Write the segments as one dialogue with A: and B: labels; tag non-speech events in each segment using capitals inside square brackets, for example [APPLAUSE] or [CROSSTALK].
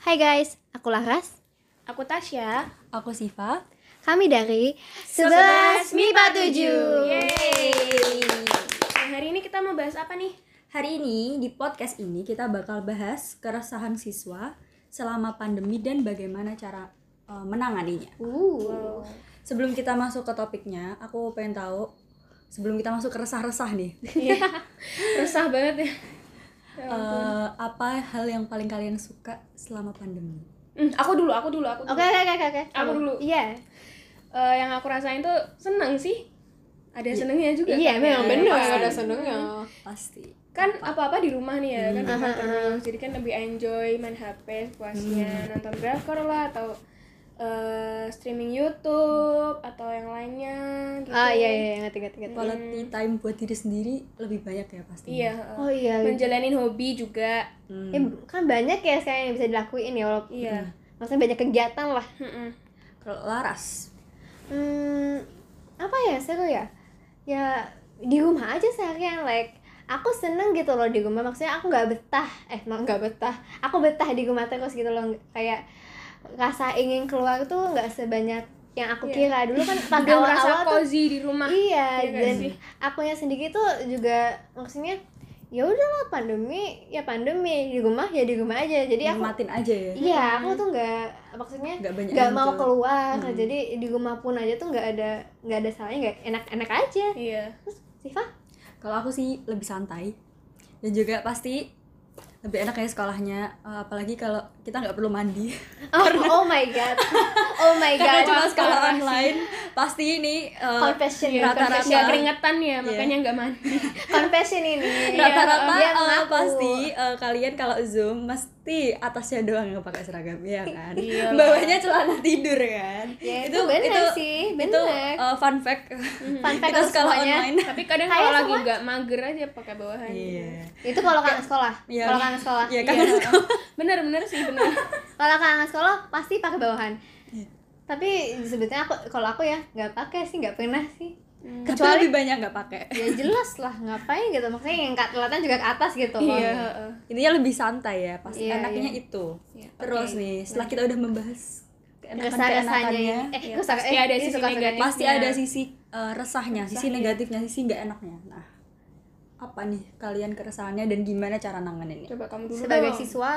A: Hai guys, aku Laras.
B: Aku Tasya.
C: Aku Siva.
A: Kami dari
B: 11
A: MIPA
B: Yeay. Nah, hari ini kita mau bahas apa nih?
C: Hari ini di podcast ini kita bakal bahas keresahan siswa selama pandemi dan bagaimana cara eh, menanganinya.
A: Uh.
C: Sebelum kita masuk ke topiknya, aku pengen tahu sebelum kita masuk ke resah-resah
A: [LAUGHS]
C: nih,
B: Resah banget ya.
C: eh, apa hal yang paling kalian suka selama pandemi?
B: Hmm, aku dulu, aku dulu, aku dulu.
A: Oke, oke, oke, oke, oke.
B: Aku dulu.
A: Iya.
B: Eh, yang aku rasain tuh seneng sih. Ada senengnya juga.
A: Iya,
B: kan?
A: memang
D: bener
C: pasti.
D: ada senengnya
A: Oh,
C: Pasti.
A: hmm.
B: Kan apa-apa di rumah nih ya, kan di rumah
A: Aha,
B: terus. Jadi kan lebih enjoy main HP puasnya,
A: Hmm.
B: nonton drakor lah atau eh, streaming YouTube atau yang lainnya gitu.
A: Ah, iya, iya, ngerti, ngerti, ngerti.
C: Quality time buat diri sendiri lebih banyak ya pasti.
B: Iya, heeh.
A: Oh iya.
B: Menjalanin hobi juga.
C: Hmm.
A: Eh, kan banyak ya sekarang yang bisa dilakuin ya, walaupun
B: Iya.
A: maksudnya banyak kegiatan lah.
B: Heeh.
C: Kalau Laras,
A: Hmm, apa ya seru ya? Ya di rumah aja seharian like aku seneng gitu loh di rumah maksudnya aku nggak betah eh emang nggak betah aku betah di rumah terus gitu loh kayak rasa ingin keluar tuh nggak sebanyak yang aku
B: Iya.
A: kira dulu
B: [LAUGHS]
A: kan pas
B: Udah ngerasa
A: awal-awal tuh
B: cozy di rumah.
A: iya
B: Iya nggak
A: dan
B: sih?
A: akunya sendiri tuh juga maksudnya ya udahlah pandemi ya pandemi di rumah ya di rumah aja jadi aku
C: nikmatin aja ya.
A: iya aku tuh nggak maksudnya
C: Nggak banyak.
A: nggak
C: yang
A: mau
C: muncul.
A: keluar
C: Hmm.
A: jadi di rumah pun aja tuh nggak ada nggak ada salahnya nggak enak-enak aja
B: Iya.
A: Siva
C: Kalau aku sih lebih santai dan juga pasti lebih enak kayak sekolahnya eh, apalagi kalau kita nggak perlu mandi
A: oh, oh my god oh my
C: [LAUGHS] karena
A: god
C: cuma sekolah online pasti ini eh,
A: confession
B: Iya,
C: Rata-rata.
B: konveksi yang keringetan ya, makanya nggak mandi.
A: confession ini
C: rata-rata
A: Dia
C: eh,
A: mengaku.
C: pasti eh, kalian kalau zoom mesti atasnya doang yang pakai seragam ya kan
B: Iyalah.
C: bawahnya celana tidur kan
A: Iya. Ya, itu bener sih, bener. Mhm.
C: itu eh, fun fact [LAUGHS]
A: Fun fact
C: kita
A: harus
C: sekolah
A: semuanya.
C: online
B: Tapi kadang
A: Kayak
B: kalau lagi
A: semua-
B: nggak mager aja pakai bawahan.
C: iya
A: itu kalau kangen sekolah
C: Iya.
A: kalau kangen sekolah
C: iya
B: Iya.
C: kan
B: Bener-bener sih, bener.
A: kalau kangen sekolah pasti pakai bawahan
C: Iya.
A: tapi sebetulnya aku kalau aku ya nggak pakai sih nggak pernah sih
B: Hmm.
C: Tapi
A: Kecuali-
C: lebih banyak nggak pakai
A: [LAUGHS] ya jelas lah ngapain gitu maksudnya yang ke- kelihatan juga ke atas gitu loh.
B: Iya, heeh.
C: intinya lebih santai ya pasti
A: Iya,
C: enaknya
A: iya.
C: itu
B: Iya,
C: terus
B: oke.
C: nih setelah kita udah membahas keenakan
A: rasa-rasanya
C: keenakannya
A: ini. eh
B: Iya,
A: kesah
B: pasti
A: eh,
B: ada
A: ini
B: sisi
A: suka-sukanya.
B: negatif.
C: pasti
B: negatifnya.
C: ada sisi eh, resahnya sisi
B: Resahnya.
C: negatifnya sisi nggak enaknya nah apa nih kalian keresahannya dan gimana cara nanganinnya
B: Coba kamu dulu
A: sebagai
B: dong.
A: siswa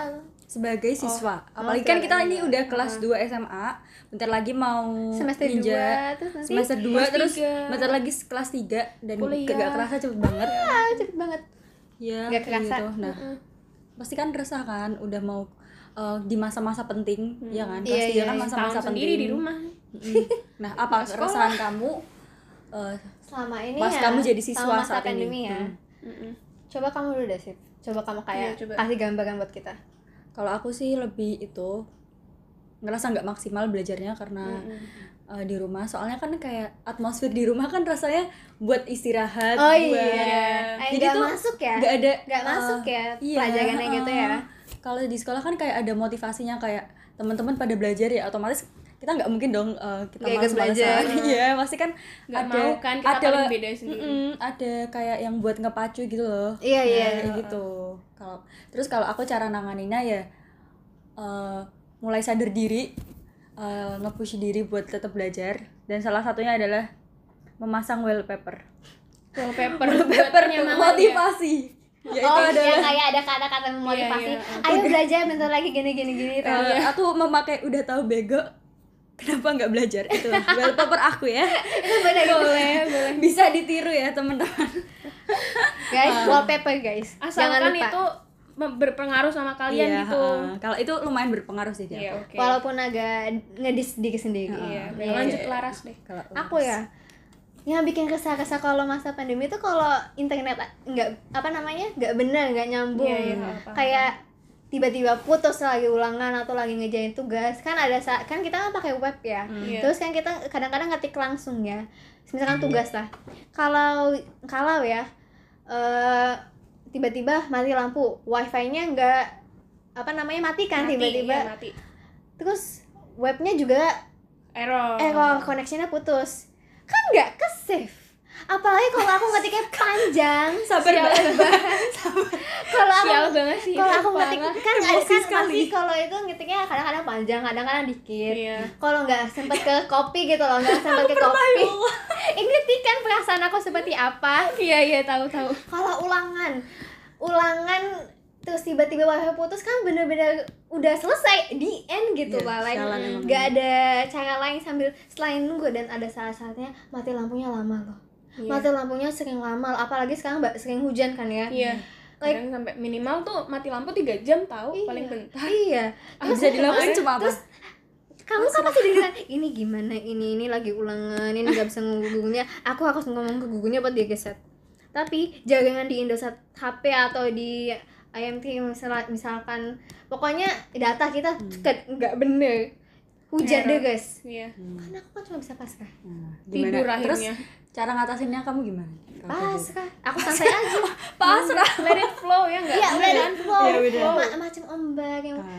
C: sebagai siswa
A: oke,
C: apalagi kan kita
A: oke.
C: ini udah kelas 2 SMA bentar lagi mau
A: semester
C: ninja
A: 2 terus nanti
C: semester 2
B: kelas
C: terus
B: tiga.
C: bentar lagi s- kelas 3 dan
B: Kuliah.
C: gak kerasa cepet banget
A: ah, cepet banget
C: ya
A: Nggak
C: kayak
A: kerasa.
C: gitu nah
B: Heeh.
C: pasti kan resah kan udah mau eh, di masa-masa penting ya kan
A: Iya,
C: pasti
A: iya,
C: ya kan
A: iya.
C: masa-masa
B: Tahun sendiri
C: penting
B: di rumah.
C: Mm. nah apa
B: Nggak sekolah.
C: keresahan kamu eh,
A: selama ini
C: pas
A: ya
C: kamu jadi siswa
A: selama masa
C: saat
A: pandemi
C: ini
A: ya
C: Hmm.
B: Heeh.
A: coba kamu dulu deh sih coba kamu kayak
B: Iya, coba.
A: kasih gambaran buat kita
C: kalau aku sih lebih itu ngerasa nggak maksimal belajarnya karena
B: Heeh.
C: eh, di rumah soalnya kan kayak atmosfer di rumah kan rasanya buat istirahat
A: oh
C: buat-
A: iya eh,
C: Jadi
A: nggak
C: tuh
A: masuk ya
C: nggak ada
A: nggak
C: eh,
A: masuk ya
C: iya,
A: pelajarannya
C: eh,
A: gitu ya
C: kalau di sekolah kan kayak ada motivasinya kayak teman-teman pada belajar ya otomatis kita nggak mungkin dong eh, kita
A: Nggak ikut
C: males-malesan
A: belajar.
C: [LAUGHS] iya pasti kan
B: Nggak
C: ada
B: mau kan, kita
C: ada
B: paling beda sendiri.
C: Mm-mm, ada kayak yang buat ngepacu gitu loh
A: iya iya
C: Kayak gitu kalau terus kalau aku cara nanganinnya ya eh, mulai sadar diri eh, nge-push diri buat tetap belajar dan salah satunya adalah memasang wallpaper
B: Wallpaper
C: wallpaper
B: buatnya
C: [LAUGHS]
B: mama ya.
C: motivasi [LAUGHS] ya itu
A: oh
C: adalah
A: yang kayak ada kata-kata memotivasi
B: Iya, iya.
A: ayo belajar bentar lagi gini gini gini tuh.
C: Eh, aku memakai udah tahu bego kenapa nggak belajar
B: [LAUGHS]
C: itu wallpaper aku ya
A: itu benar gitu
B: Boleh, boleh.
C: bisa ditiru ya teman-teman
A: guys
C: Ah.
A: wallpaper guys jangan
B: Asalkan
A: lupa
B: itu mem- berpengaruh sama kalian
C: Iya,
B: gitu.
C: heeh. kalau itu lumayan berpengaruh sih
B: Iya,
C: dia
B: oke.
A: walaupun agak ngedis diri sendiri
B: Iya,
A: Iya.
B: lanjut Laras deh.
C: kalau
A: aku ya yang bikin kesah-kesah kalau masa pandemi itu kalau internet nggak apa namanya nggak benar nggak nyambung
B: Iya, iya, paham, paham.
A: kayak tiba-tiba putus lagi ulangan atau lagi ngejain tugas kan ada sa- kan kita kan pakai web ya
B: Iya.
A: terus kan kita kadang-kadang ngetik langsung ya misalkan
B: Hmm.
A: tugas lah kalau kalau ya eh, tiba-tiba mati lampu wifi-nya nggak apa namanya mati kan
B: Mati, iya,
A: tiba-tiba
B: mati.
A: terus webnya juga
B: Error.
C: Oh.
A: eh kalau koneksinya putus kan nggak ke save apalagi kalau aku
C: [LAUGHS]
A: ngetiknya panjang
C: Sabar banget.
A: kalau aku
B: Sial banget sih.
A: kalau aku
B: parah.
A: ngetik kan ada
C: Emosi
A: kan
C: sekali.
A: pasti kalau itu ngetiknya kadang-kadang panjang kadang-kadang dikit
B: Iya.
A: kalau nggak sempet ke kopi gitu loh nggak sempet ke
C: ya?
A: kopi ini kan perasaan aku seperti apa
B: Iya iya tahu tahu.
A: kalau ulangan ulangan terus tiba-tiba wifi putus kan bener-bener udah selesai di end gitu
C: Iya,
A: lah like
C: sialan emang.
A: nggak ada cara lain sambil selain nunggu dan ada saat-saatnya mati lampunya lama loh
B: Iya.
A: mati lampunya sering lama apalagi sekarang mbak sering hujan kan ya
B: Iya.
A: Like-
B: Kadang sampai minimal tuh mati lampu 3 jam tahu
A: Iya.
B: paling bentar.
A: iya
C: Ah, bisa dilakukan
A: kemarin-
C: cuma apa?
A: terus kamu kan pasti
B: [LAUGHS]
A: dibilang ini gimana ini ini lagi ulangan ini nggak bisa ngomong ke gugunya aku harus ngomong ke gugunya buat dia geset tapi jangan di Indosat HP atau di IMT misal- misalkan pokoknya data kita ke- nggak bener hujan deh
B: Hmm. Error.
A: guys
B: Iya.
A: kan aku kan cuma bisa pasrah
C: Nah,
B: Tidur
C: gimana? Terus
B: akhirnya. Ah.
C: cara ngatasinnya kamu gimana?
A: pasrah aku santai
B: [LAUGHS]
A: aja
B: Iya,
C: Pasrah.
B: Let it flow ya enggak?
A: ya udah dan flow
B: Iya,
C: Ya udah.
A: Ma- macam ombak yang
C: Ah.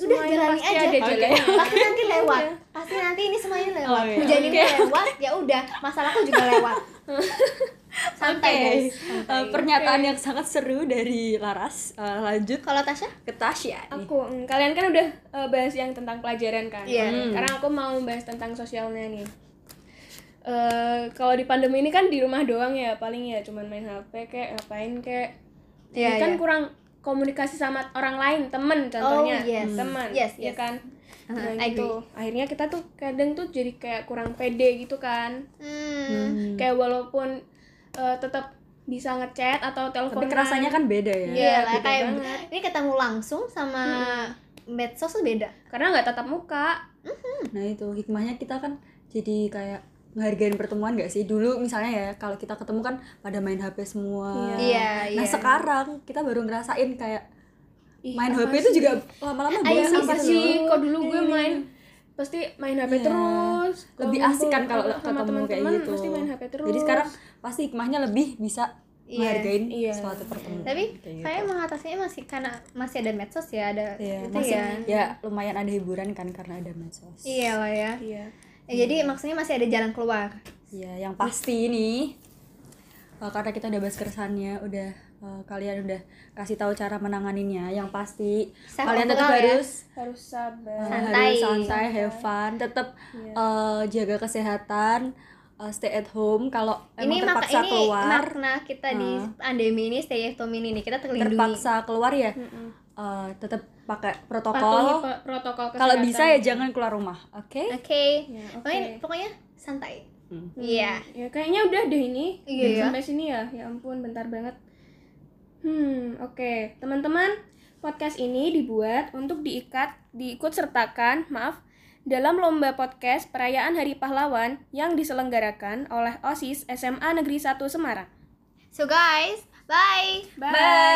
A: udah
B: Semuanya
A: jalanin
B: pasti
A: aja
B: ada jalannya.
A: [LAUGHS] pasti nanti lewat pasti nanti ini semuanya lewat
C: ya. Oh, iya.
A: hujan ini lewat ya udah masalahku juga
C: [LAUGHS]
A: lewat santai
C: Oke.
A: guys
C: Eh, pernyataan yang sangat seru dari Laras. Eh, lanjut
A: kalau Tasya
C: ke Tasya nih.
B: Aku mm, kalian kan udah eh, bahas yang tentang pelajaran kan.
A: Iya.
B: Hmm. Karena aku mau bahas tentang sosialnya nih. Eh kalau di pandemi ini kan di rumah doang ya paling ya cuman main HP kayak ngapain kayak
A: Iya, iya.
B: kan kurang komunikasi sama orang lain temen
A: Oh,
B: contohnya
A: yes.
B: teman
A: Yes,
B: ya
A: yes.
B: kan
A: Uh-huh,
B: nah,
A: I
B: gitu akhirnya kita tuh kadang tuh jadi kayak kurang pede gitu kan
A: hmm.
B: kayak walaupun eh, tetap bisa ngechat atau telepon
C: Tapi kerasanya kan beda ya.
B: Iya,
A: Iya lah
B: beda
A: kayak
B: banget.
A: ini ketemu langsung sama
C: Hmm.
A: medsos tuh beda
B: karena nggak tatap muka
C: Nah itu hikmahnya kita kan jadi kayak ngehargain pertemuan gak sih dulu misalnya ya kalau kita ketemu kan pada main HP semua.
A: Iya,
C: Nah
A: iya.
C: sekarang kita baru ngerasain kayak
B: Ih,
C: main
B: apa
C: HP itu juga lama-lama
A: Ayo,
C: bosan
B: apa
A: Gitu
B: sih
C: loh.
B: kok dulu gue
C: Iya.
B: main pasti main HP
C: Iya.
B: terus Kalau
C: lebih
B: ngumpul
C: asik kan kalau
B: sama
C: ketemu kayak
B: teman-teman,
C: gitu.
B: pasti main HP terus
C: Jadi sekarang pasti hikmahnya lebih bisa
A: Iya.
C: menghargain
B: Iya.
C: suatu pertemuan.
A: tapi
C: Kayak gitu.
A: saya mengatasinya masih karena masih ada medsos ya ada
C: Iya,
A: itu
C: masih
A: ya
C: ya lumayan ada hiburan kan karena ada medsos.
A: iya lah ya
B: iya
A: Ya,
C: Hmm.
A: jadi maksudnya masih ada jalan keluar
C: Iya, yang pasti ini uh, karena kita udah bahas keresahannya, udah uh, kalian udah kasih tahu cara menanganinnya. Yang pasti
A: Self
C: kalian tetap
A: overall ya.
C: harus
B: harus
C: uh,
B: sabar
A: Santai. Iya.
C: harus santai, have fun, tetap uh, jaga kesehatan, uh, stay at home. Kalau
A: ini
C: emang
A: maka
C: terpaksa
A: ini
C: keluar, Hmm.
A: makna kita di pandemi ini stay at home ini nih, kita terlindungi
C: terpaksa keluar ya, uh, tetap pakai
B: patuhi
C: protokol.
B: pe- protokol kesehatan
C: Kalau bisa ya jangan keluar rumah, oke?
A: Oke.
B: Ya, oke.
A: Pokoknya, pokoknya santai.
C: Hmm.
A: Iya.
B: ya kayaknya udah deh ini
A: Iya,
B: Udah
A: ya.
B: sampai sini ya ya ampun bentar banget hmm oke teman-teman podcast ini dibuat untuk diikat diikut sertakan maaf dalam lomba podcast perayaan Hari Pahlawan yang diselenggarakan oleh OSIS SMA Negeri 1 Semarang.
A: So guys, bye.
B: Bye.